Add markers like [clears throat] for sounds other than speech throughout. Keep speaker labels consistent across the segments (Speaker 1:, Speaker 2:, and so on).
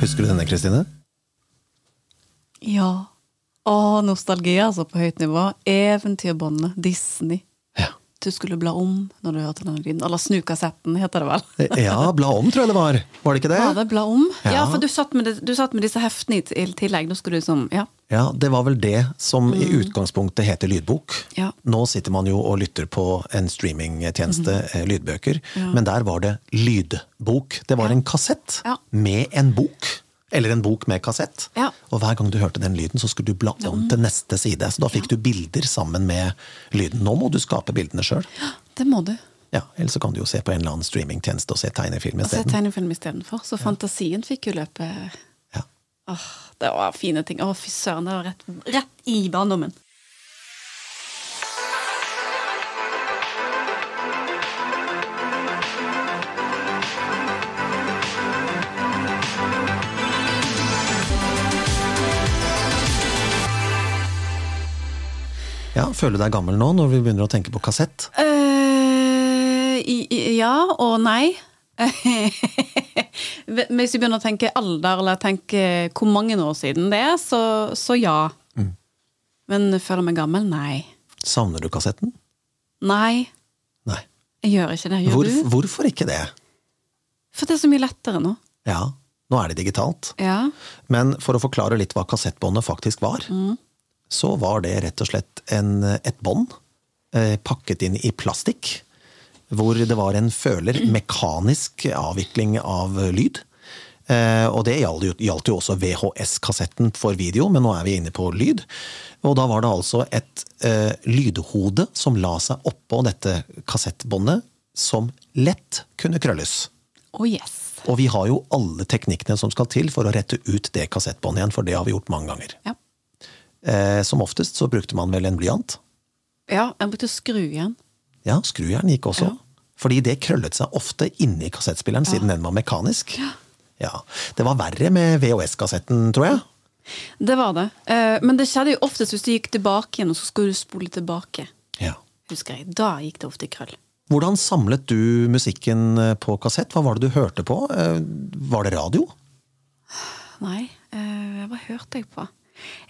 Speaker 1: Husker du denne, Kristine?
Speaker 2: Ja. Å, nostalgi altså på høyt nivå. Eventyrbåndet. Disney.
Speaker 1: Ja.
Speaker 2: Du skulle bla om når du hørte denne lyden. Eller snu kassetten, heter det vel.
Speaker 1: Ja, bla om, tror jeg det var. Var det ikke det?
Speaker 2: Ja, det bla om. Ja,
Speaker 1: Ja.
Speaker 2: for du satt, med, det- du satt med disse heftene i t- i tillegg. Da skulle du liksom Ja.
Speaker 1: Ja, det var vel det som i utgangspunktet heter lydbok.
Speaker 2: Mm. Ja.
Speaker 1: Nå sitter man jo og lytter på en streamingtjeneste,
Speaker 2: Mhm.
Speaker 1: eh, lydbøker, men der var det lydbok. Det var en kassett
Speaker 2: Ja.
Speaker 1: med en bok. Eller en bok med kassett.
Speaker 2: Ja.
Speaker 1: Og hver gang du hørte den lyden, så skulle du bla om til neste side. Så da fikk du bilder sammen med lyden. Nå må du skape bildene sjøl.
Speaker 2: Det må du.
Speaker 1: Ja, ellers så kan du jo se på en eller annen streamingtjeneste og se tegnefilm
Speaker 2: Og se
Speaker 1: isteden.
Speaker 2: tegnefilm istedenfor. Så fantasien fikk jo løpe.
Speaker 1: Ja.
Speaker 2: Åh, det var fine ting. Å, fy søren, det var rett, rett i barndommen.
Speaker 1: ja, Føler du deg gammel nå når vi begynner å tenke på kassett?
Speaker 2: eh i, i, ja og nei. [laughs] Hvis vi begynner å tenke alder, eller tenke hvor mange år siden det er, så, så ja. Men føler jeg meg gammel? Nei.
Speaker 1: Savner du kassetten?
Speaker 2: Nei,
Speaker 1: Nei.
Speaker 2: jeg gjør ikke det. Gjør
Speaker 1: Hvor,
Speaker 2: du?
Speaker 1: hvorfor ikke det?
Speaker 2: For det er så mye lettere nå.
Speaker 1: Ja, nå er det digitalt.
Speaker 2: Ja.
Speaker 1: Men for å forklare litt hva kassettbåndet faktisk var, så var det rett og slett en, et bånd eh, pakket inn i plastikk, hvor det var en føler mekanisk avvikling av lyd. Eh, og det gjaldt jo, gjaldt jo også VHS-kassetten for video, men nå er vi inne på lyd. Og da var det altså et eh, lydhode som la seg oppå dette kassettbåndet, som lett kunne krølles.
Speaker 2: Oh yes.
Speaker 1: Og vi har jo alle teknikkene som skal til for å rette ut det kassettbåndet igjen, for det har vi gjort mange ganger.
Speaker 2: Ja.
Speaker 1: Eh, som oftest så brukte man vel en blyant.
Speaker 2: ja jeg brukte skru igjen.
Speaker 1: Ja, skrujern gikk også. Fordi det krøllet seg ofte inni kassettspilleren, siden den var mekanisk. Ja. Det var verre med VHS-kassetten, tror jeg.
Speaker 2: Det var det. Eh, Men det skjedde jo oftest hvis du gikk tilbake igjen, og så skulle du spole tilbake.
Speaker 1: Ja.
Speaker 2: Husker jeg. Da gikk det ofte i krøll.
Speaker 1: Hvordan samlet du musikken eh, på kassett? Hva var det du hørte på? Eh, Var det radio?
Speaker 2: Nei, eh, hva hørte jeg på?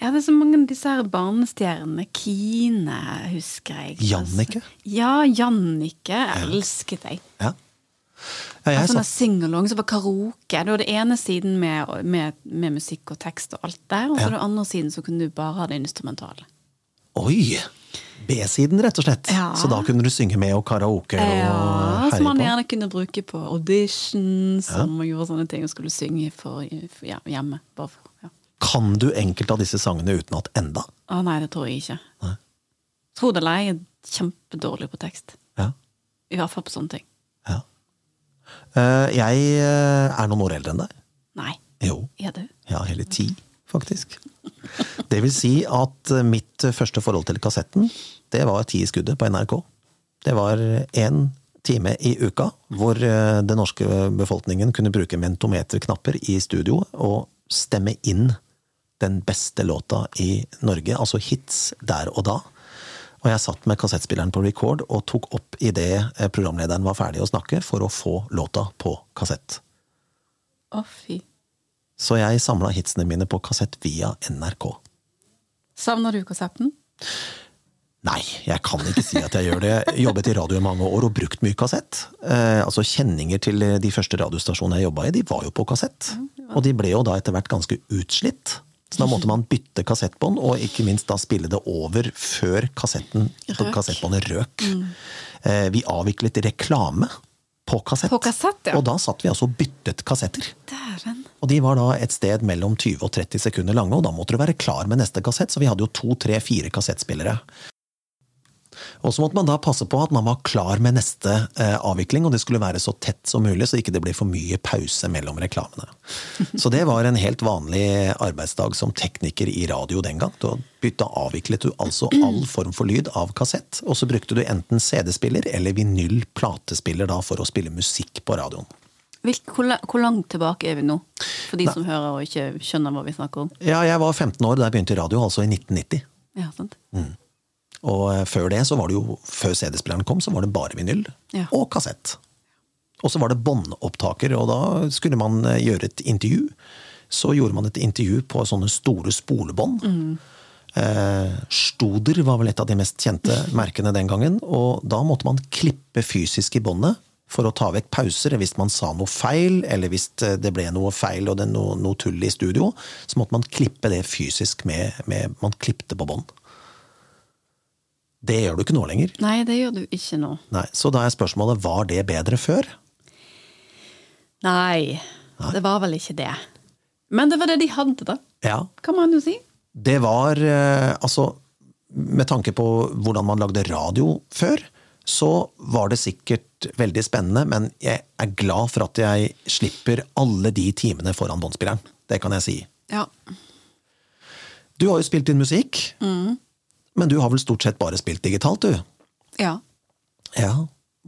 Speaker 2: Jeg hadde så mange av disse her barnestjernene. Kine, husker jeg.
Speaker 1: Jannicke?
Speaker 2: Altså, Ja, Jannicke. Jeg Altså, elsket deg.
Speaker 1: Ja. ja jeg
Speaker 2: Sånne
Speaker 1: satt,
Speaker 2: singalong som var karaoke. Du hadde ene siden med, med, med musikk og tekst og alt der, og så den andre siden så kunne du bare ha det instrumentale.
Speaker 1: oi! B-siden, rett og slett.
Speaker 2: Ja.
Speaker 1: Så da kunne du synge med og karaoke og
Speaker 2: Ja,
Speaker 1: herje
Speaker 2: som man
Speaker 1: på.
Speaker 2: gjerne kunne bruke på auditions og man gjorde sånne ting og skulle synge for, for ja, hjemme. Bare for, ja.
Speaker 1: Kan du enkelte av disse sangene utenat enda?
Speaker 2: Å nei, det tror jeg ikke.
Speaker 1: Nei.
Speaker 2: Tro det eller ei, jeg er kjempedårlig på tekst.
Speaker 1: Ja.
Speaker 2: I hvert fall på sånne ting.
Speaker 1: ja. Eh, Jeg eh, er noen år eldre enn deg.
Speaker 2: Nei.
Speaker 1: Jo.
Speaker 2: Er du?
Speaker 1: Ja, hele ti, faktisk. Det vil si at eh, mitt første forhold til kassetten, det var ti i skuddet på NRK. Det var én time i uka hvor eh, den norske befolkningen kunne bruke mentometerknapper i studio og stemme inn den beste låta i Norge, altså hits der og da. Og jeg satt med kassettspilleren på record og tok opp idet programlederen var ferdig å snakke, for å få låta på kassett.
Speaker 2: Å, fy.
Speaker 1: Så jeg samla hitsene mine på kassett via NRK.
Speaker 2: Savner du konsepten?
Speaker 1: Nei, jeg kan ikke si at jeg gjør det. Jeg jobbet i radio i mange år og brukt mye kassett. Eh, altså Kjenninger til de første radiostasjonene jeg jobba i, de var jo på kassett. Og de ble jo da etter hvert ganske utslitt. Så da måtte man bytte kassettbånd, og ikke minst da spille det over før kassetten,
Speaker 2: Røk. Mm.
Speaker 1: kassettbåndet røk. Eh, vi avviklet reklame på kassett.
Speaker 2: På kassett, ja.
Speaker 1: Og da satt vi altså og byttet kassetter.
Speaker 2: Dæven.
Speaker 1: Og de var da et sted mellom 20 og 30 sekunder lange, og da måtte du være klar med neste kassett, så vi hadde jo to, tre, fire kassettspillere. Og så måtte man da passe på at man var klar med neste eh, avvikling, og det skulle være så tett som mulig, så ikke det ble for mye pause mellom reklamene. Så det var en helt vanlig arbeidsdag som tekniker i radio den gang. Da bytta avviklet du altså all form for lyd av kassett, og så brukte du enten CD-spiller eller vinyl-platespiller da for å spille musikk på radioen.
Speaker 2: Hvilk, hvor, la- hvor langt tilbake er vi nå? For de som hører og ikke skjønner hva vi snakker om.
Speaker 1: Ja, jeg var 15 år da jeg begynte i radio, altså i 1990.
Speaker 2: Ja, sant?
Speaker 1: Og eh, før det, så var det jo, før CD-spilleren kom, så var det bare vinyl
Speaker 2: Ja.
Speaker 1: og kassett. Og så var det båndopptaker, og da skulle man eh, gjøre et intervju så gjorde man et intervju på sånne store spolebånd. Eh, Stoder var vel et av de mest kjente merkene den gangen. Og da måtte man klippe fysisk i båndet for å ta vekk pauser hvis man sa noe feil, eller hvis eh, det ble noe feil og det er noe, noe tull i studio. Så måtte man klippe det fysisk med, med Man klippte på bånd. Det gjør du ikke nå lenger.
Speaker 2: Nei, det gjør du ikke nå.
Speaker 1: Nei, Så da er spørsmålet var det bedre før?
Speaker 2: Nei, det var vel ikke det. Men det var det de hadde, da.
Speaker 1: Ja,
Speaker 2: Kan man jo si.
Speaker 1: Det var eh, Altså, med tanke på hvordan man lagde radio før, så var det sikkert veldig spennende, men jeg er glad for at jeg slipper alle de timene foran båndspilleren. Det kan jeg si.
Speaker 2: Ja.
Speaker 1: Du har jo spilt inn musikk, men du har vel stort sett bare spilt digitalt, du?
Speaker 2: ja.
Speaker 1: Ja.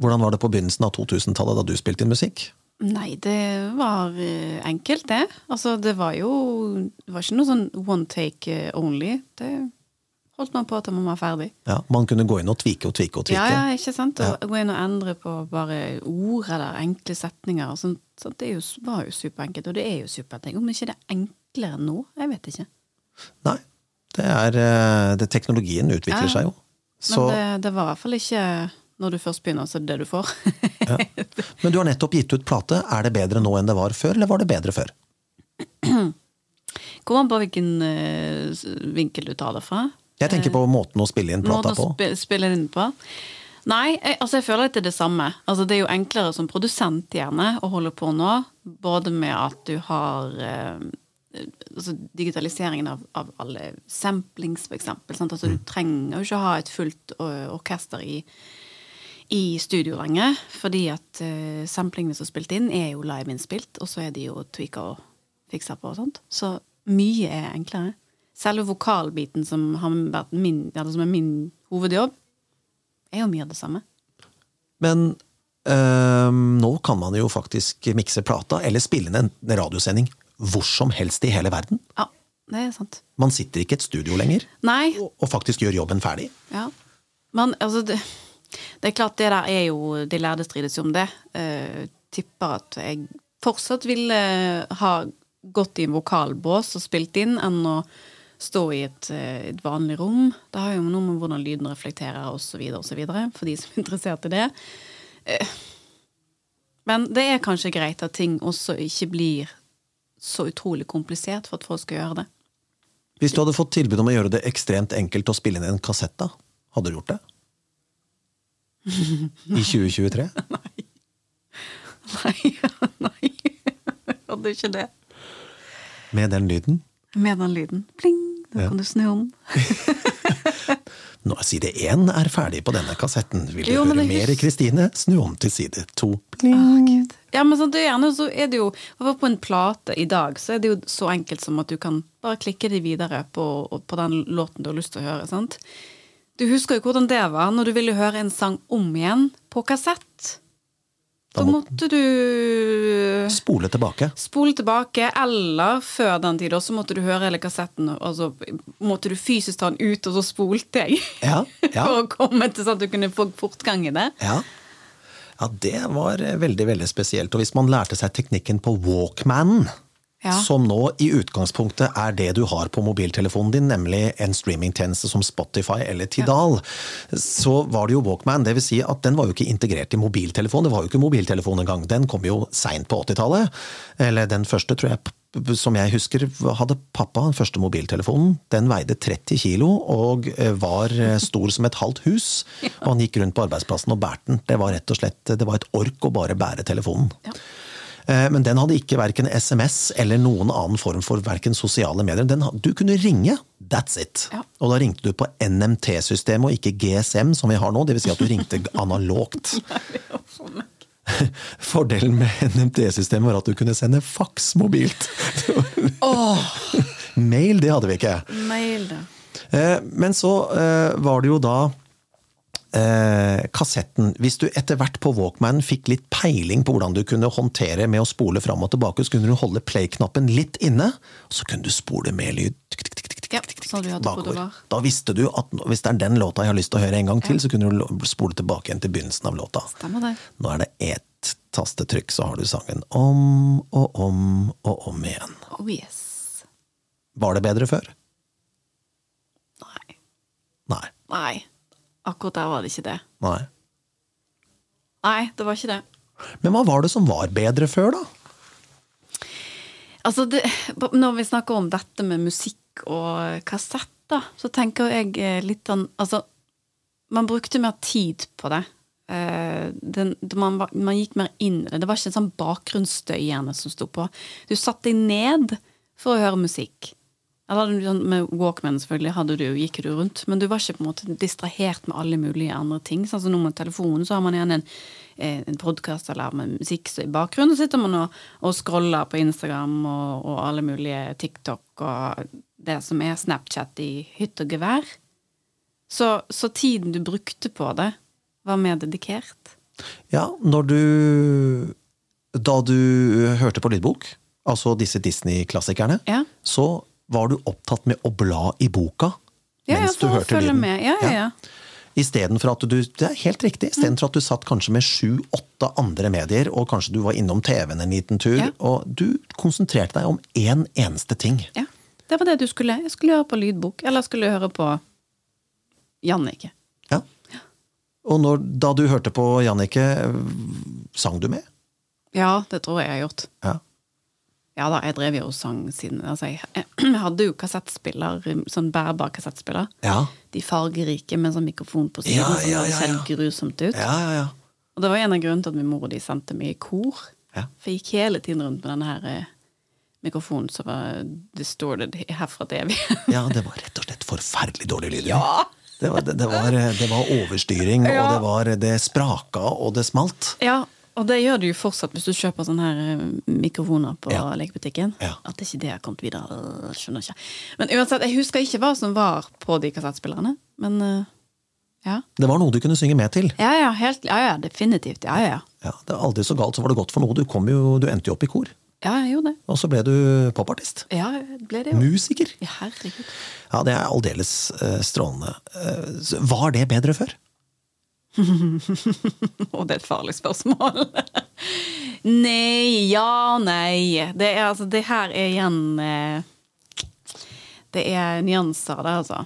Speaker 1: Hvordan var det på begynnelsen av 2000-tallet da du spilte inn musikk?
Speaker 2: Nei, det var eh, enkelt, det. Altså, det var jo Det var ikke noe sånn one take eh, only. Det holdt man på til man var ferdig.
Speaker 1: Ja, Man kunne gå inn og tvike og tvike og tvike.
Speaker 2: Ja, ja, ikke sant? Å gå inn og endre på bare ord eller enkle setninger. Og sånt, sånt, det er jo, var jo superenkelt, og det er jo superenkelt. Om ikke det er enklere nå? Jeg vet ikke.
Speaker 1: Nei. Det er eh, det, Teknologien utvikler
Speaker 2: Ja.
Speaker 1: seg jo.
Speaker 2: Men
Speaker 1: Så,
Speaker 2: det, det var i hvert fall ikke når du først begynner, så er det det du får. [laughs]
Speaker 1: Men du har nettopp gitt ut plate. Er det bedre nå enn det var før, eller var det bedre før?
Speaker 2: Kommer an på hvilken eh, s- vinkel du tar det fra.
Speaker 1: Jeg tenker på måten å spille inn plata
Speaker 2: Eh, Måten
Speaker 1: på.
Speaker 2: å spi- spille den inn på. Nei, jeg, altså jeg føler at det er det samme. Altså det er jo enklere som produsent gjerne å holde på nå, både med at du har eh, altså digitaliseringen av, av alle samplings, for eksempel. Sant? Altså du trenger jo ikke ha et fullt eh, orkester i, i studio lenger, fordi at eh, samplingene som er spilt inn, er jo liveinnspilt, og så er de jo tweaka og fiksa på og sånt. Så mye er enklere. Selve vokalbiten, som, har vært min, eller som er min hovedjobb, er jo mye av det samme.
Speaker 1: Men øhm, nå kan man jo faktisk mikse plata, eller spille inn en radiosending, hvor som helst i hele verden.
Speaker 2: Ja, det er sant.
Speaker 1: Man sitter ikke i et studio lenger,
Speaker 2: Nei,
Speaker 1: og, og faktisk gjør jobben ferdig.
Speaker 2: Ja. Men altså det, det er klart, det der er jo De lærde strides jo om det. Eh, tipper at jeg fortsatt ville eh, ha gått i en vokalbås og spilt inn, enn å stå i et, eh, et vanlig rom. Det har jo noe med hvordan lyden reflekterer, osv., osv., for de som er interessert i det. Eh, Men det er kanskje greit at ting også ikke blir så utrolig komplisert for at folk skal gjøre det. [laughs]
Speaker 1: Hvis du hadde fått tilbud om å gjøre det ekstremt enkelt å spille inn en kassett, da, hadde du gjort det?
Speaker 2: [laughs]
Speaker 1: I 2023?
Speaker 2: Nei, nei. Jeg hadde ikke det.
Speaker 1: Med den lyden?
Speaker 2: Med den lyden. Pling! Da kan du snu om.
Speaker 1: Nå, Side én er ferdig på denne kassetten. Vil du
Speaker 2: Jo, men
Speaker 1: høre
Speaker 2: det
Speaker 1: mer,
Speaker 2: hus-
Speaker 1: Kristine? Snu om til side to. Pling.
Speaker 2: Ja, men sånn, det er gjerne så er det jo i hvert fall På en plate i dag så er det jo så enkelt som at du kan bare klikke det videre på, og på den låten du har lyst til å høre. sant? Du husker jo hvordan det var når du ville høre en sang om igjen på kassett.
Speaker 1: Da
Speaker 2: Da
Speaker 1: må-
Speaker 2: måtte du
Speaker 1: Spole tilbake.
Speaker 2: Spole tilbake, eller før den tid, og så måtte du høre hele kassetten. Og så måtte du fysisk ta den ut, og så spolte jeg.
Speaker 1: Ja, ja.
Speaker 2: [laughs] For å komme til sånn at du kunne få fortgang i det.
Speaker 1: Ja. ja, det var veldig, veldig spesielt. Og hvis man lærte seg teknikken på Walkman,
Speaker 2: Ja.
Speaker 1: som nå i utgangspunktet er det du har på mobiltelefonen din, nemlig en streamingtjeneste som Spotify eller Tidal, så var det jo Walkman. Det vil si at den var jo ikke integrert i mobiltelefon. Det var jo ikke mobiltelefon engang. Den kom jo seint på 80-tallet. Eller den første, tror jeg, p- som jeg husker, hadde pappa den første mobiltelefonen. Den veide 30 kilo og eh, var eh, stor som et halvt hus. Og han gikk rundt på arbeidsplassen og bærte den. Det var rett og slett det var et ork å bare bære telefonen.
Speaker 2: Ja.
Speaker 1: Eh, Men den hadde ikke verken SMS eller noen annen form for hverken sosiale medier. Den, ha- du kunne ringe, that's it.
Speaker 2: Ja.
Speaker 1: Og da ringte du på NMT-systemet og ikke GSM, som vi har nå. Det vil si at du ringte analogt. [laughs] Fordelen med NMT-systemet var at du kunne sende faks mobilt. [laughs] Mail, det hadde vi ikke.
Speaker 2: Mail, da.
Speaker 1: Eh, Men så eh, var det jo da eh, kassetten. Hvis du etter hvert på Walkman fikk litt peiling på hvordan du kunne håndtere med å spole fram og tilbake, så kunne du holde play-knappen litt inne, og så kunne du spole med lyd. tikk, tikk, tikk, tikk, tikk,
Speaker 2: Ja,
Speaker 1: tikk, tikk,
Speaker 2: sånn vi hadde på
Speaker 1: bakover.
Speaker 2: det var.
Speaker 1: Da visste du at nå- hvis det er den låta jeg har lyst til å høre en gang til, så kunne du lo- spole tilbake igjen til begynnelsen av låta.
Speaker 2: Stemmer det.
Speaker 1: Nå er det ett tastetrykk så har du sangen om og om og om igjen.
Speaker 2: Oh yes.
Speaker 1: Var det bedre før?
Speaker 2: Nei.
Speaker 1: Nei.
Speaker 2: Nei. Akkurat der var det ikke det.
Speaker 1: Nei.
Speaker 2: Nei, det var ikke det.
Speaker 1: Men hva var det som var bedre før, da?
Speaker 2: Altså, det, når vi snakker om dette med musikk og kassett, da, så tenker jeg eh, litt sånn Altså, man brukte mer tid på det. Eh, Den, det- man, var- man gikk mer inn i det. Det var ikke en sånn bakgrunnsstøy gjerne som sto på. Du satte deg ned for å høre musikk. Eller hadde du sånn- med Walkman selvfølgelig hadde du, gikk du rundt, men du var ikke på en måte distrahert med alle mulige andre ting. Sånn som nå med telefonen, så har man gjerne en, eh, en podkast eller med musikk så i bakgrunnen, så sitter man og, og scroller på Instagram og, og alle mulige TikTok og det som er Snapchat i hytt og gevær. Så, så tiden du brukte på det, var mer dedikert.
Speaker 1: Ja, når du Da du hørte på lydbok, altså disse Disney-klassikerne,
Speaker 2: Ja.
Speaker 1: så var du opptatt med å bla i boka
Speaker 2: Ja, ja,
Speaker 1: mens du
Speaker 2: for å
Speaker 1: hørte
Speaker 2: følge
Speaker 1: lyden.
Speaker 2: med. Ja, ja, Mm. ja.
Speaker 1: Istedenfor at du Det er helt riktig. Istedenfor at du satt kanskje med sju-åtte andre medier, og kanskje du var innom TV-en en liten tur,
Speaker 2: Ja.
Speaker 1: og du konsentrerte deg om én eneste ting.
Speaker 2: Ja, det var det du skulle. Jeg skulle høre på lydbok, eller jeg skulle høre på Jannicke.
Speaker 1: Ja. Og når, da du hørte på Jannicke, sang du med?
Speaker 2: Ja, det tror jeg jeg har gjort.
Speaker 1: Ja.
Speaker 2: Ja da, jeg drev jo og sang siden altså jeg, [clears throat] jeg hadde jo kassettspiller, sånn bærbar kassettspiller.
Speaker 1: Ja,
Speaker 2: De fargerike med sånn mikrofon på siden
Speaker 1: Ja, ja,
Speaker 2: som
Speaker 1: ja,
Speaker 2: det
Speaker 1: ja.
Speaker 2: ser grusomt ut.
Speaker 1: ja, ja. ja.
Speaker 2: Og det var en av grunnene til at min mor og de sendte meg i kor.
Speaker 1: Ja.
Speaker 2: For jeg gikk hele tiden rundt med denne her eh, mikrofonen som var distorted herfra til
Speaker 1: [laughs]
Speaker 2: evig.
Speaker 1: Ja, det var rett og slett forferdelig dårlig lyd. Det, var, det, det, var, det var overstyring, og
Speaker 2: Ja.
Speaker 1: det, var, det spraka, og det smalt.
Speaker 2: Ja, og det gjør du jo fortsatt hvis du kjøper sånne her eh, mikrofoner på
Speaker 1: Ja.
Speaker 2: lekebutikken.
Speaker 1: Ja.
Speaker 2: At ikke det har kommet videre. øh, Skjønner ikke. Men uansett, jeg husker ikke hva som var på de kassettspillerne. Men eh, ja.
Speaker 1: Det var noe du kunne synge med til.
Speaker 2: Ja, ja, helt, ja, ja, definitivt. Ja, ja, ja.
Speaker 1: Ja, det var Aldri så galt, så var det godt for noe. Du, kom jo, du endte jo opp i kor,
Speaker 2: Ja, jeg gjorde det.
Speaker 1: og så ble du popartist.
Speaker 2: Ja, ble det jo.
Speaker 1: Musiker.
Speaker 2: Ja, herregud.
Speaker 1: Ja, det er aldeles eh, strålende. Eh, så var det bedre før?
Speaker 2: [laughs] Og det er et farlig spørsmål. [laughs] nei, ja, nei. Det, er, altså, det her er igjen eh, Det er nyanser, det, altså.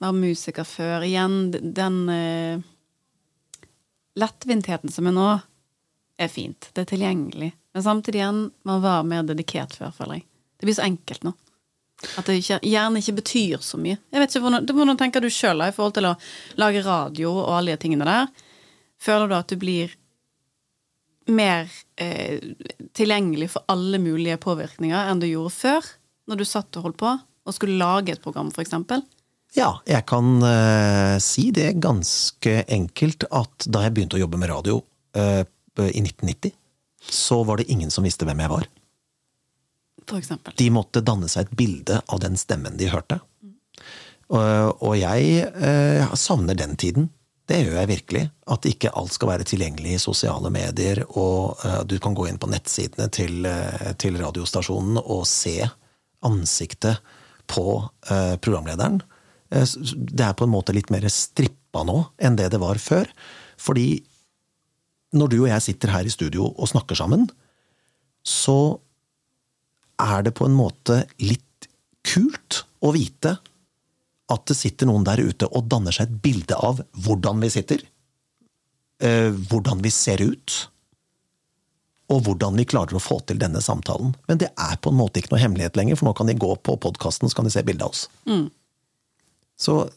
Speaker 2: Være musiker før. Igjen d- den eh, lettvintheten som er nå, er fint. Det er tilgjengelig. Men samtidig igjen, man var mer dedikert før, føler jeg. Det blir så enkelt nå. At det ikke, gjerne ikke betyr så mye. Jeg vet ikke, Hvordan, hvordan tenker du sjøl i forhold til å lage radio og alle de tingene der? Føler du at du blir mer eh, tilgjengelig for alle mulige påvirkninger enn du gjorde før, når du satt og holdt på og skulle lage et program, for eksempel?
Speaker 1: Ja, jeg kan eh, si det ganske enkelt at da jeg begynte å jobbe med radio eh, i 1990, så var det ingen som visste hvem jeg var.
Speaker 2: For eksempel.
Speaker 1: De måtte danne seg et bilde av den stemmen de hørte. Og, og jeg eh, savner den tiden. Det gjør jeg virkelig. At ikke alt skal være tilgjengelig i sosiale medier, og eh, du kan gå inn på nettsidene til, eh, til radiostasjonen og se ansiktet på eh, programlederen. Eh, s- s- Det er på en måte litt mer strippa nå enn det det var før. Fordi når du og jeg sitter her i studio og snakker sammen, så er det på en måte litt kult å vite at det sitter noen der ute og danner seg et bilde av hvordan vi sitter, eh, hvordan vi ser ut, og hvordan vi klarer å få til denne samtalen. Men det er på en måte ikke noe hemmelighet lenger, for nå kan de gå på podkasten så kan de se bildet av oss. Så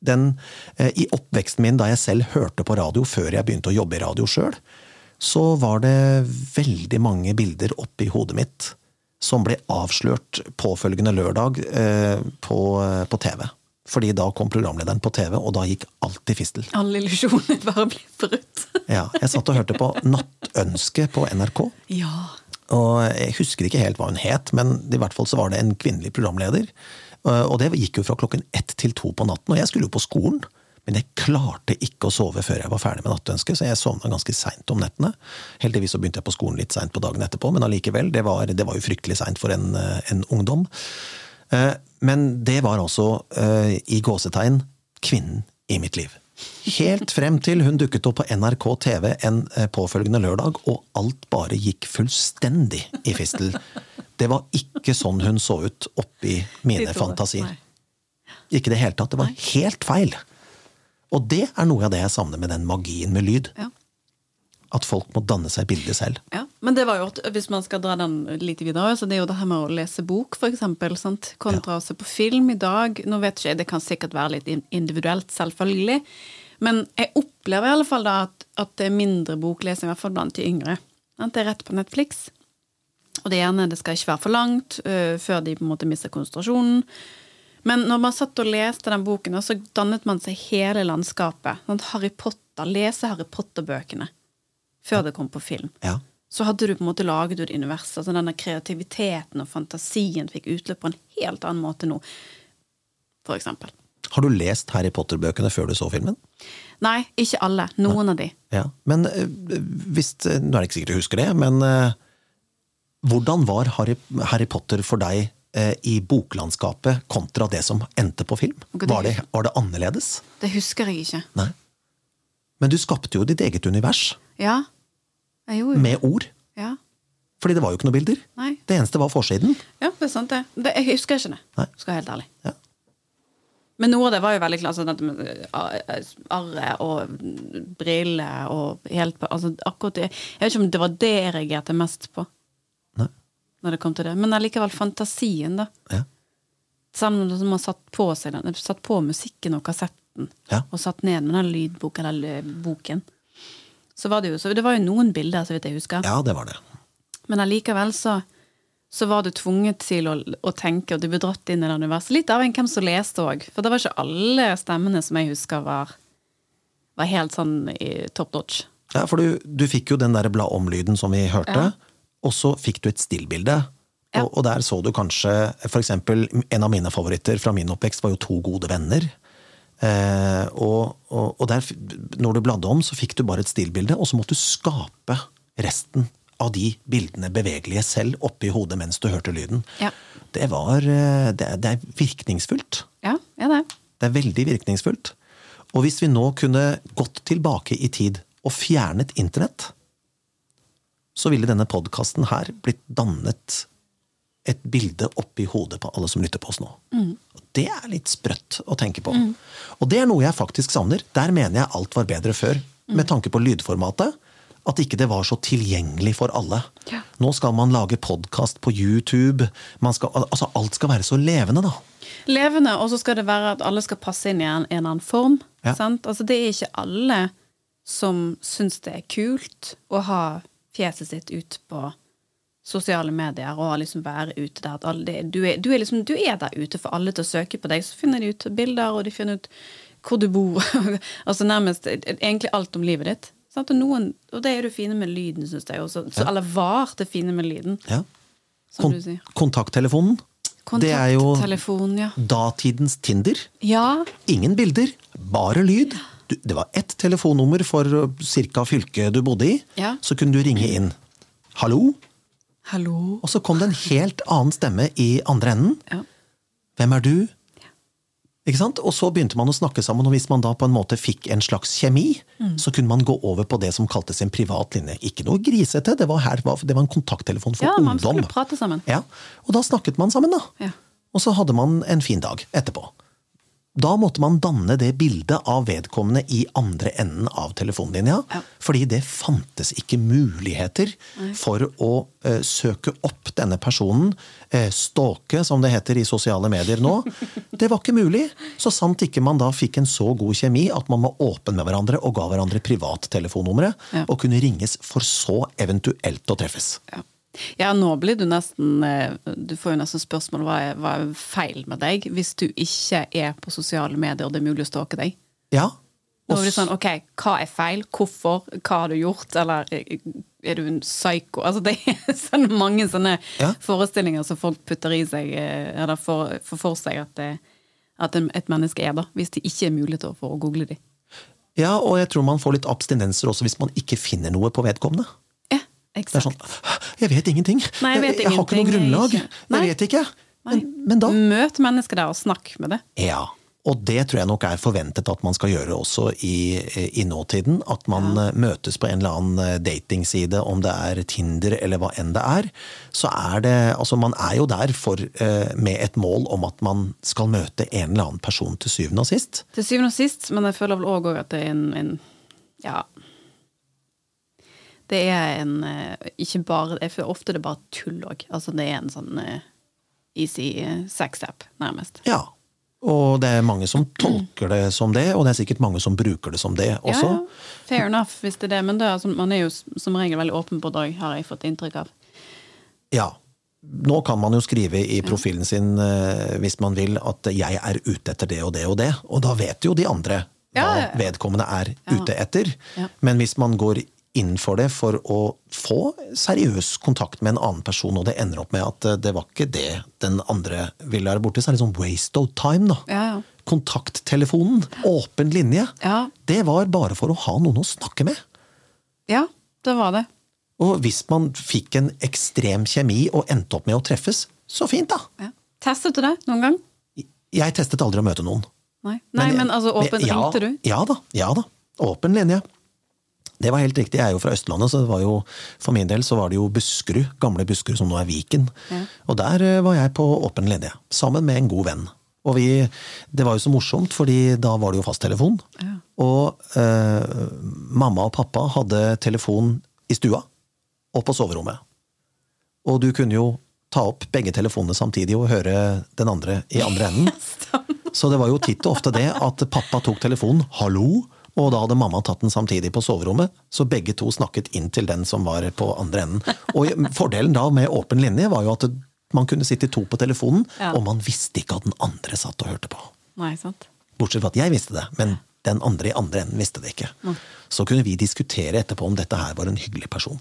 Speaker 1: den, eh, I oppveksten min da jeg selv hørte på radio før jeg begynte å jobbe i radio sjøl, så var det veldig mange bilder oppi hodet mitt som ble avslørt påfølgende lørdag eh, på, eh, på TV. Fordi da kom programlederen på TV, og da gikk alt i fistel.
Speaker 2: Alle illusjoner [laughs] bare ble brutt.
Speaker 1: Ja, jeg satt og hørte på Nattønske på NRK.
Speaker 2: ja.
Speaker 1: Og jeg husker ikke helt hva hun het, men i hvert fall så var det en kvinnelig programleder. Eh, Og det gikk jo fra klokken ett til to på natten, og jeg skulle jo på skolen. Men jeg klarte ikke å sove før jeg var ferdig med nattønsket, så jeg sovna ganske seint om nettene. Heldigvis så begynte jeg på skolen litt seint på dagen etterpå, men allikevel, det var, det var jo fryktelig seint for en, eh, en ungdom. Eh, Men det var altså, eh, i gåsetegn, kvinnen i mitt liv. Helt frem til hun dukket opp på NRK TV en eh, påfølgende lørdag, og alt bare gikk fullstendig i fistel. Det var ikke sånn hun så ut oppi
Speaker 2: De
Speaker 1: mine
Speaker 2: to.
Speaker 1: fantasier.
Speaker 2: Nei.
Speaker 1: Ikke i det hele tatt. Det var helt feil. Og det er noe av det jeg savner med den magien med lyd.
Speaker 2: Ja.
Speaker 1: At folk må danne seg bildet selv.
Speaker 2: Ja, Men det var jo, at- hvis man skal dra den litt videre, så det er jo det her med å lese bok, for eksempel, sant? kontra å se på film i dag. Nå vet ikke jeg, det kan sikkert være litt in- individuelt, selvfølgelig. Men jeg opplever i alle fall da at, at det er mindre boklesing, i hvert fall blant de yngre. Sant? Det er rett på Netflix. Og det er gjerne, det skal ikke være for langt øh, før de på en måte mister konsentrasjonen. Men når man satt og leste den boken, så dannet man seg hele landskapet. Sant? Harry Potter, lese Harry Potter-bøkene før det kom på film
Speaker 1: Ja.
Speaker 2: så hadde du på en måte laget ut universet. Altså denne kreativiteten og fantasien fikk utløp på en helt annen måte nå, for eksempel.
Speaker 1: Har du lest Harry Potter-bøkene før du så filmen?
Speaker 2: Nei, ikke alle. Noen av de.
Speaker 1: Ja. Men eh, hvis eh, Nå er det ikke sikkert du husker det, men eh, hvordan var Harry, Harry Potter for deg eh, i boklandskapet kontra det som endte på film?
Speaker 2: Godt.
Speaker 1: Var det, var det annerledes?
Speaker 2: Det husker jeg ikke.
Speaker 1: Nei. Men du skapte jo ditt eget univers
Speaker 2: Ja. Jeg gjorde jo
Speaker 1: med ord.
Speaker 2: Ja.
Speaker 1: Fordi det var jo ikke noen bilder.
Speaker 2: Nei.
Speaker 1: Det eneste var forsiden.
Speaker 2: Ja, det er sant, det. det jeg husker ikke det.
Speaker 1: Nei.
Speaker 2: Skal være helt ærlig.
Speaker 1: Ja.
Speaker 2: Men noe av det var jo veldig klart. Sånn at med, eh, arret og briller og helt på altså, akkurat det. Jeg vet ikke om det var det jeg reagerte mest på.
Speaker 1: Nei.
Speaker 2: Når det kom til det. Men allikevel fantasien, da.
Speaker 1: Ja.
Speaker 2: Selv om det- man satt på, seg, den- satt på musikken og kassetten,
Speaker 1: Ja.
Speaker 2: og satt ned med den lydboken, eller eh, boken, så var det jo så Det var jo noen bilder, så vidt jeg husker.
Speaker 1: ja, det var det.
Speaker 2: Men allikevel så, så var du tvunget til å, å tenke, og du ble dratt inn i det universet. Litt avhengig av hvem som leste òg. For det var ikke alle stemmene som jeg husker var, var helt sånn i top notch.
Speaker 1: Ja, for du, du fikk jo den der bla om-lyden som vi hørte, og så fikk du et stillbilde.
Speaker 2: Ja.
Speaker 1: Og, og der så du kanskje for eksempel, En av mine favoritter fra min oppvekst var jo To gode venner. Eh, og, og, og der, f- når du bladde om, så fikk du bare et stillbilde, og så måtte du skape resten av de bildene bevegelige selv oppi hodet mens du hørte lyden.
Speaker 2: Ja.
Speaker 1: Det var eh, det, er- det er virkningsfullt.
Speaker 2: Ja, ja det.
Speaker 1: Det er veldig virkningsfullt. Og hvis vi nå kunne gått tilbake i tid og fjernet internett, så ville denne podkasten her blitt dannet et bilde oppi hodet på alle som lytter på oss nå. Og Det er litt sprøtt å tenke på. Og det er noe jeg faktisk savner. Der mener jeg alt var bedre før, med tanke på lydformatet. At ikke det var så tilgjengelig for alle.
Speaker 2: Ja.
Speaker 1: Nå skal man lage podkast på YouTube. Man skal, altså alt skal være så levende, da.
Speaker 2: Levende, og så skal det være at alle skal passe inn i en, en eller annen form.
Speaker 1: Ja.
Speaker 2: Sant? Altså, det er ikke alle som syns det er kult å ha fjeset sitt ut på sosiale medier og liksom være ute der. At alle, det, du, er, du, er liksom, du er der ute for alle til å søke på deg. Så finner de ut bilder, og de finner ut hvor du bor. [laughs] altså nærmest egentlig alt om livet ditt. Sant? Og, noen, og det er det fine med lyden, syns jeg. Også. Så, Eller var det fine med lyden,
Speaker 1: Ja.
Speaker 2: som
Speaker 1: Kon-
Speaker 2: du sier.
Speaker 1: Kontakttelefonen. Det er jo
Speaker 2: Kontakttelefon, ja.
Speaker 1: datidens Tinder.
Speaker 2: Ja,
Speaker 1: Ingen bilder, bare lyd. Du, det var ett telefonnummer for ca. fylket du bodde i.
Speaker 2: Ja.
Speaker 1: Så kunne du ringe inn. Hallo?
Speaker 2: hallo.
Speaker 1: Og så kom det en helt annen stemme i andre enden.
Speaker 2: Ja.
Speaker 1: Hvem er du? Ikke sant? Og så begynte man å snakke sammen, og hvis man da på en måte fikk en slags kjemi,
Speaker 2: Mm.
Speaker 1: så kunne man gå over på det som kaltes en privat linje. Ikke noe grisete, det var, her, det var en kontakttelefon for
Speaker 2: Ja, man
Speaker 1: ungdom.
Speaker 2: skulle prate sammen.
Speaker 1: Ja, Og da snakket man sammen, da.
Speaker 2: Ja.
Speaker 1: Og så hadde man en fin dag etterpå. Da måtte man danne det bildet av vedkommende i andre enden av telefonlinja.
Speaker 2: Ja.
Speaker 1: Fordi det fantes ikke muligheter for å eh, søke opp denne personen. Uh, stalke, som det heter i sosiale medier
Speaker 2: [laughs]
Speaker 1: nå. Det var ikke mulig. Så sant ikke man da fikk en så god kjemi at man var åpen med hverandre og ga hverandre privattelefonnumre,
Speaker 2: Ja.
Speaker 1: og kunne ringes for så eventuelt å treffes.
Speaker 2: Ja. ja, nå blir du nesten eh, Du får jo nesten spørsmål hva er, hva er feil med deg hvis du ikke er på sosiale medier og det er mulig å stalke deg.
Speaker 1: Ja.
Speaker 2: Nå
Speaker 1: Og
Speaker 2: blir det sånn, ok, Hva er feil? Hvorfor? Hva har du gjort? Eller eh, er du en psyko? Altså, det er [laughs] sånn mange sånne
Speaker 1: Ja.
Speaker 2: forestillinger som folk putter i seg, eh, eller får får for seg at, det, at en- et menneske er, da, hvis det ikke er mulighet for å google dem.
Speaker 1: Ja, og jeg tror man får litt abstinenser også hvis man ikke finner noe på vedkommende.
Speaker 2: Ja,
Speaker 1: Det
Speaker 2: eksakt.
Speaker 1: er sånn Jeg vet ingenting!
Speaker 2: Nei, jeg vet
Speaker 1: jeg har ikke
Speaker 2: ingenting,
Speaker 1: noe grunnlag!
Speaker 2: jeg er ikke- Nei.
Speaker 1: Jeg vet ikke! Men, men da
Speaker 2: Møt mennesket der og snakk med det.
Speaker 1: Ja. Og det tror jeg nok er forventet at man skal gjøre også i, i nåtiden. At man eh, møtes på en eller annen eh, datingside, om det er Tinder eller hva enn det er. Så er det Altså, man er jo der for, eh, med et mål om at man skal møte en eller annen person til syvende og sist.
Speaker 2: Til syvende og sist, men jeg føler vel òg at det er en, en Ja. Det er en eh, Ikke bare Jeg føler ofte det er bare tull òg. Altså, det er en sånn eh, easy eh, sex-app, nærmest.
Speaker 1: Ja. Og det er mange som tolker det som det, og det er sikkert mange som bruker det som det også.
Speaker 2: Ja, ja. Fair enough, hvis det er det. Men det, er altså, man er jo s- som regel veldig åpen på dag, har jeg fått inntrykk av.
Speaker 1: Ja. Nå kan man jo skrive i profilen sin eh, hvis man vil at jeg er ute etter det og det og det, og da vet jo de andre hva
Speaker 2: Ja, ja, ja.
Speaker 1: vedkommende er
Speaker 2: Ja.
Speaker 1: ute etter.
Speaker 2: Ja.
Speaker 1: Men hvis man går inn for det for å få seriøs kontakt med en annen person, og det ender opp med at eh, det var ikke det den andre ville være borti, så er det sånn waste of time, da.
Speaker 2: Ja, ja.
Speaker 1: Kontakttelefonen, åpen linje.
Speaker 2: Ja,
Speaker 1: Det var bare for å ha noen å snakke med.
Speaker 2: ja det var det.
Speaker 1: Og hvis man fikk en ekstrem kjemi og endte opp med å treffes, så fint, da.
Speaker 2: Ja. Testet du det noen gang?
Speaker 1: Jeg testet aldri å møte noen.
Speaker 2: Nei, Nei men, altså åpen
Speaker 1: ja,
Speaker 2: ringte du?
Speaker 1: Ja da. ja da. Åpen linje. Det var helt riktig. Jeg er jo fra Østlandet, så det var jo, for min del så var det jo Buskerud. Gamle Buskerud, som nå er Viken.
Speaker 2: Ja.
Speaker 1: Og der eh, var jeg på åpen linje, sammen med en god venn. Og vi, Det var jo så morsomt, fordi da var det jo fasttelefon.
Speaker 2: Ja.
Speaker 1: Og eh, mamma og pappa hadde telefon i stua og på soverommet. Og du kunne jo ta opp begge telefonene samtidig og høre den andre i andre enden. Så det var jo titt og ofte det at pappa tok telefonen 'hallo', og da hadde mamma tatt den samtidig på soverommet. Så begge to snakket inn til den som var på andre enden. Og fordelen da med åpen linje var jo at man kunne sitte to på telefonen,
Speaker 2: Ja.
Speaker 1: og man visste ikke at den andre satt og hørte på.
Speaker 2: Nei, sant?
Speaker 1: Bortsett fra at jeg visste det, men den andre i andre enden visste det ikke. Så kunne vi diskutere etterpå om dette her var en hyggelig person.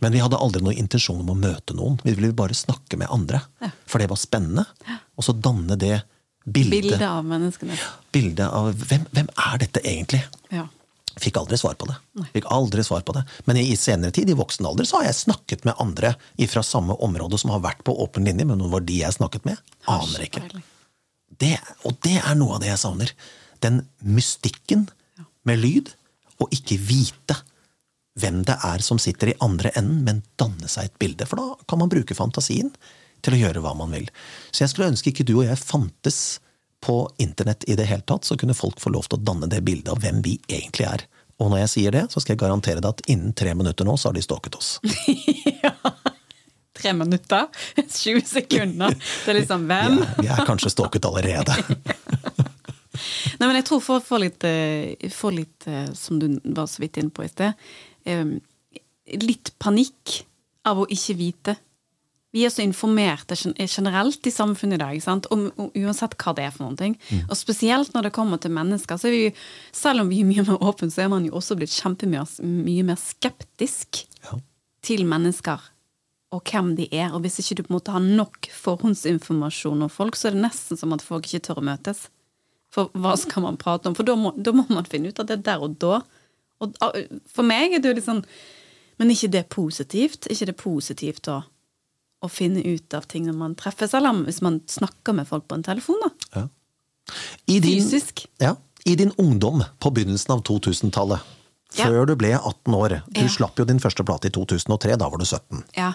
Speaker 1: Men vi hadde aldri noen intensjon om å møte noen. Vi ville bare snakke med andre. For det var spennende. Og så danne det
Speaker 2: Bilde
Speaker 1: bildet,
Speaker 2: av menneskene.
Speaker 1: bildet av hvem, hvem er dette egentlig?
Speaker 2: Ja.
Speaker 1: Fikk aldri svar på det. Fikk aldri svar på det. Men i senere tid, i voksen alder, så har jeg snakket med andre fra samme område som har vært på åpen linje, men hvor de jeg snakket med, aner ikke.
Speaker 2: Peiling.
Speaker 1: Det, og det er noe av det jeg savner. Den mystikken med lyd, og ikke vite hvem det er som sitter i andre enden, men danne seg et bilde. For da kan man bruke fantasien til å gjøre hva man vil. Så jeg skulle ønske ikke du og jeg fantes på internett i det hele tatt, så kunne folk få lov til å danne det bildet av hvem vi egentlig er. Og når jeg sier det, så skal jeg garantere deg at innen tre minutter nå så har de stalket oss.
Speaker 2: Tre minutter? [laughs] 20 sekunder? Det er liksom hvem?
Speaker 1: Vi er kanskje stalket allerede.
Speaker 2: Nei, men jeg tror for å få litt, eh, få litt eh, som du var så vidt inne på i sted, eh, litt panikk av å ikke vite. Vi er så informerte gen- generelt i samfunnet i dag, ikke sant? Om, om, uansett hva det er for noen ting. Og spesielt når det kommer til mennesker. så er vi, jo- Selv om vi er mye mer åpne, så er man jo også blitt kjempemye mye mer skeptisk
Speaker 1: Ja.
Speaker 2: til mennesker og hvem de er. Og hvis ikke du på en måte har nok forhåndsinformasjon om folk, så er det nesten som at folk ikke tør å møtes. For hva skal man prate om? For da må, da må man finne ut av det der og da. Og ah, for meg er det jo litt sånn Men ikke det er positivt? Ikke det er positivt å, å finne ut av ting når man treffes, eller hvis man snakker med folk på en telefon, da.
Speaker 1: Ja. I din-
Speaker 2: Fysisk.
Speaker 1: Ja. I din ungdom på begynnelsen av 2000-tallet,
Speaker 2: Ja.
Speaker 1: før du ble 18 år Du
Speaker 2: Ja.
Speaker 1: slapp jo din første plate i 2003, da var du 17.
Speaker 2: Ja.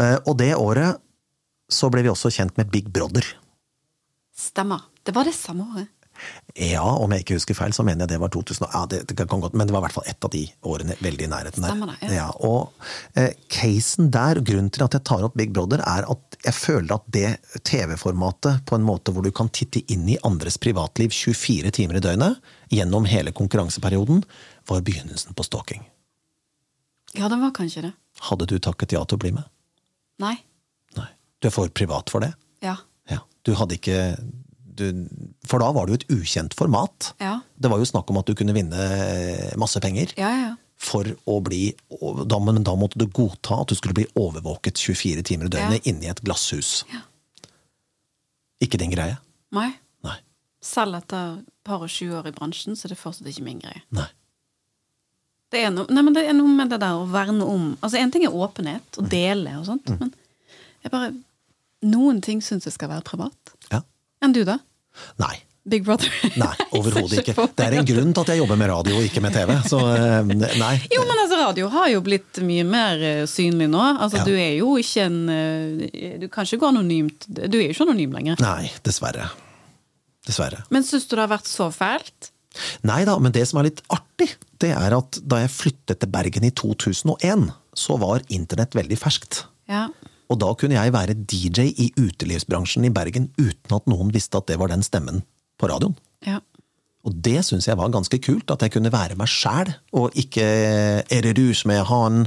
Speaker 1: Eh, Og det året så ble vi også kjent med Big Brother.
Speaker 2: Stemmer. Det var det samme året.
Speaker 1: Ja, om jeg ikke husker feil, så mener jeg det var 2000. og- Ja, det, det kan godt, men det var i hvert fall ett av de årene veldig i nærheten der.
Speaker 2: Stemmer det, ja.
Speaker 1: og eh, casen der, grunnen til at jeg tar opp Big Brother, er at jeg føler at det TV-formatet, på en måte hvor du kan titte inn i andres privatliv 24 timer i døgnet, gjennom hele konkurranseperioden, var begynnelsen på stalking.
Speaker 2: Ja, det var kanskje det.
Speaker 1: Hadde du takket ja til å bli med?
Speaker 2: Nei.
Speaker 1: Nei. Du er for privat for det?
Speaker 2: Ja.
Speaker 1: Ja. Du hadde ikke du, For da var det jo et ukjent format.
Speaker 2: Ja.
Speaker 1: Det var jo snakk om at du kunne vinne eh, masse penger.
Speaker 2: Ja, ja. ja.
Speaker 1: for å bli da, Men da måtte du godta at du skulle bli overvåket 24 timer i døgnet inni et glasshus.
Speaker 2: Ja.
Speaker 1: Ikke din greie?
Speaker 2: Nei.
Speaker 1: Nei.
Speaker 2: Selv etter et par og tjue år i bransjen, så er det fortsatt ikke min greie.
Speaker 1: Nei.
Speaker 2: Det er, noe, nei, men det er noe med det der å verne om Altså, En ting er åpenhet
Speaker 1: Mm.
Speaker 2: og dele og sånt, men jeg bare Noen ting syns jeg skal være privat.
Speaker 1: Ja.
Speaker 2: Enn du, da?
Speaker 1: Nei.
Speaker 2: Big Brother.
Speaker 1: Nei, overhodet
Speaker 2: [laughs] Jeg ser
Speaker 1: ikke.
Speaker 2: ikke for
Speaker 1: Det er
Speaker 2: meg
Speaker 1: en
Speaker 2: at-
Speaker 1: grunn til at jeg jobber med radio og ikke med TV. Så eh, nei.
Speaker 2: [laughs] Jo, men altså, radio har jo blitt mye mer eh, synlig nå. Altså,
Speaker 1: Ja.
Speaker 2: Du er jo ikke en eh, Du kan ikke gå anonymt. Du er jo ikke anonym lenger.
Speaker 1: Nei, dessverre. Dessverre.
Speaker 2: Men syns du det har vært så fælt?
Speaker 1: Nei da, men det som er litt artig, det er at da jeg flyttet til Bergen i 2001, så var internett veldig ferskt.
Speaker 2: Ja.
Speaker 1: Og da kunne jeg være DJ i utelivsbransjen i Bergen uten at noen visste at det var den stemmen på radioen.
Speaker 2: ja.
Speaker 1: Og det syns jeg var ganske kult, at jeg kunne være meg sjæl, og ikke er det du som er han?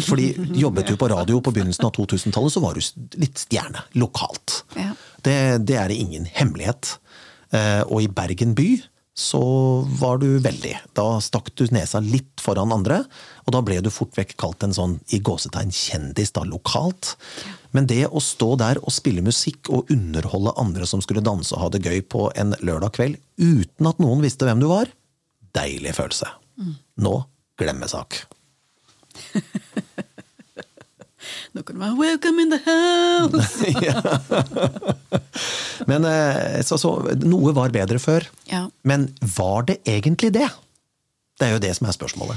Speaker 1: Fordi jobbet du på radio på begynnelsen av 2000-tallet, så var du litt stjerne lokalt.
Speaker 2: Ja.
Speaker 1: Det, det er ingen hemmelighet. Eh, Og i Bergen by så var du veldig. Da stakk du nesa litt foran andre, og da ble du fort vekk kalt en sånn i gåsetegn kjendis da lokalt. Men det å stå der og spille musikk og underholde andre som skulle danse og ha det gøy på en lørdag kveld, uten at noen visste hvem du var, deilig følelse. Nå glemmesak. [laughs]
Speaker 2: Nå kan det være 'Welcome in the
Speaker 1: [laughs]
Speaker 2: house'!
Speaker 1: Men eh, så, så, noe var bedre før.
Speaker 2: Ja.
Speaker 1: Men var det egentlig det? Det er jo det som er spørsmålet.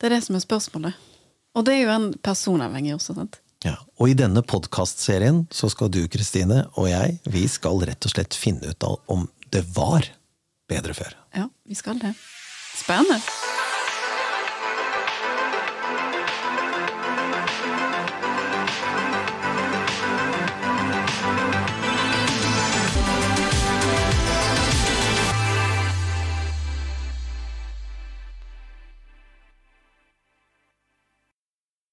Speaker 2: Det er det som er spørsmålet. Og det er jo en personavhengig også, sant?
Speaker 1: Ja. Og i denne podkastserien så skal du, Kristine, og jeg, vi skal rett og slett finne ut av om det var bedre før.
Speaker 2: Ja, vi skal det. Spennende.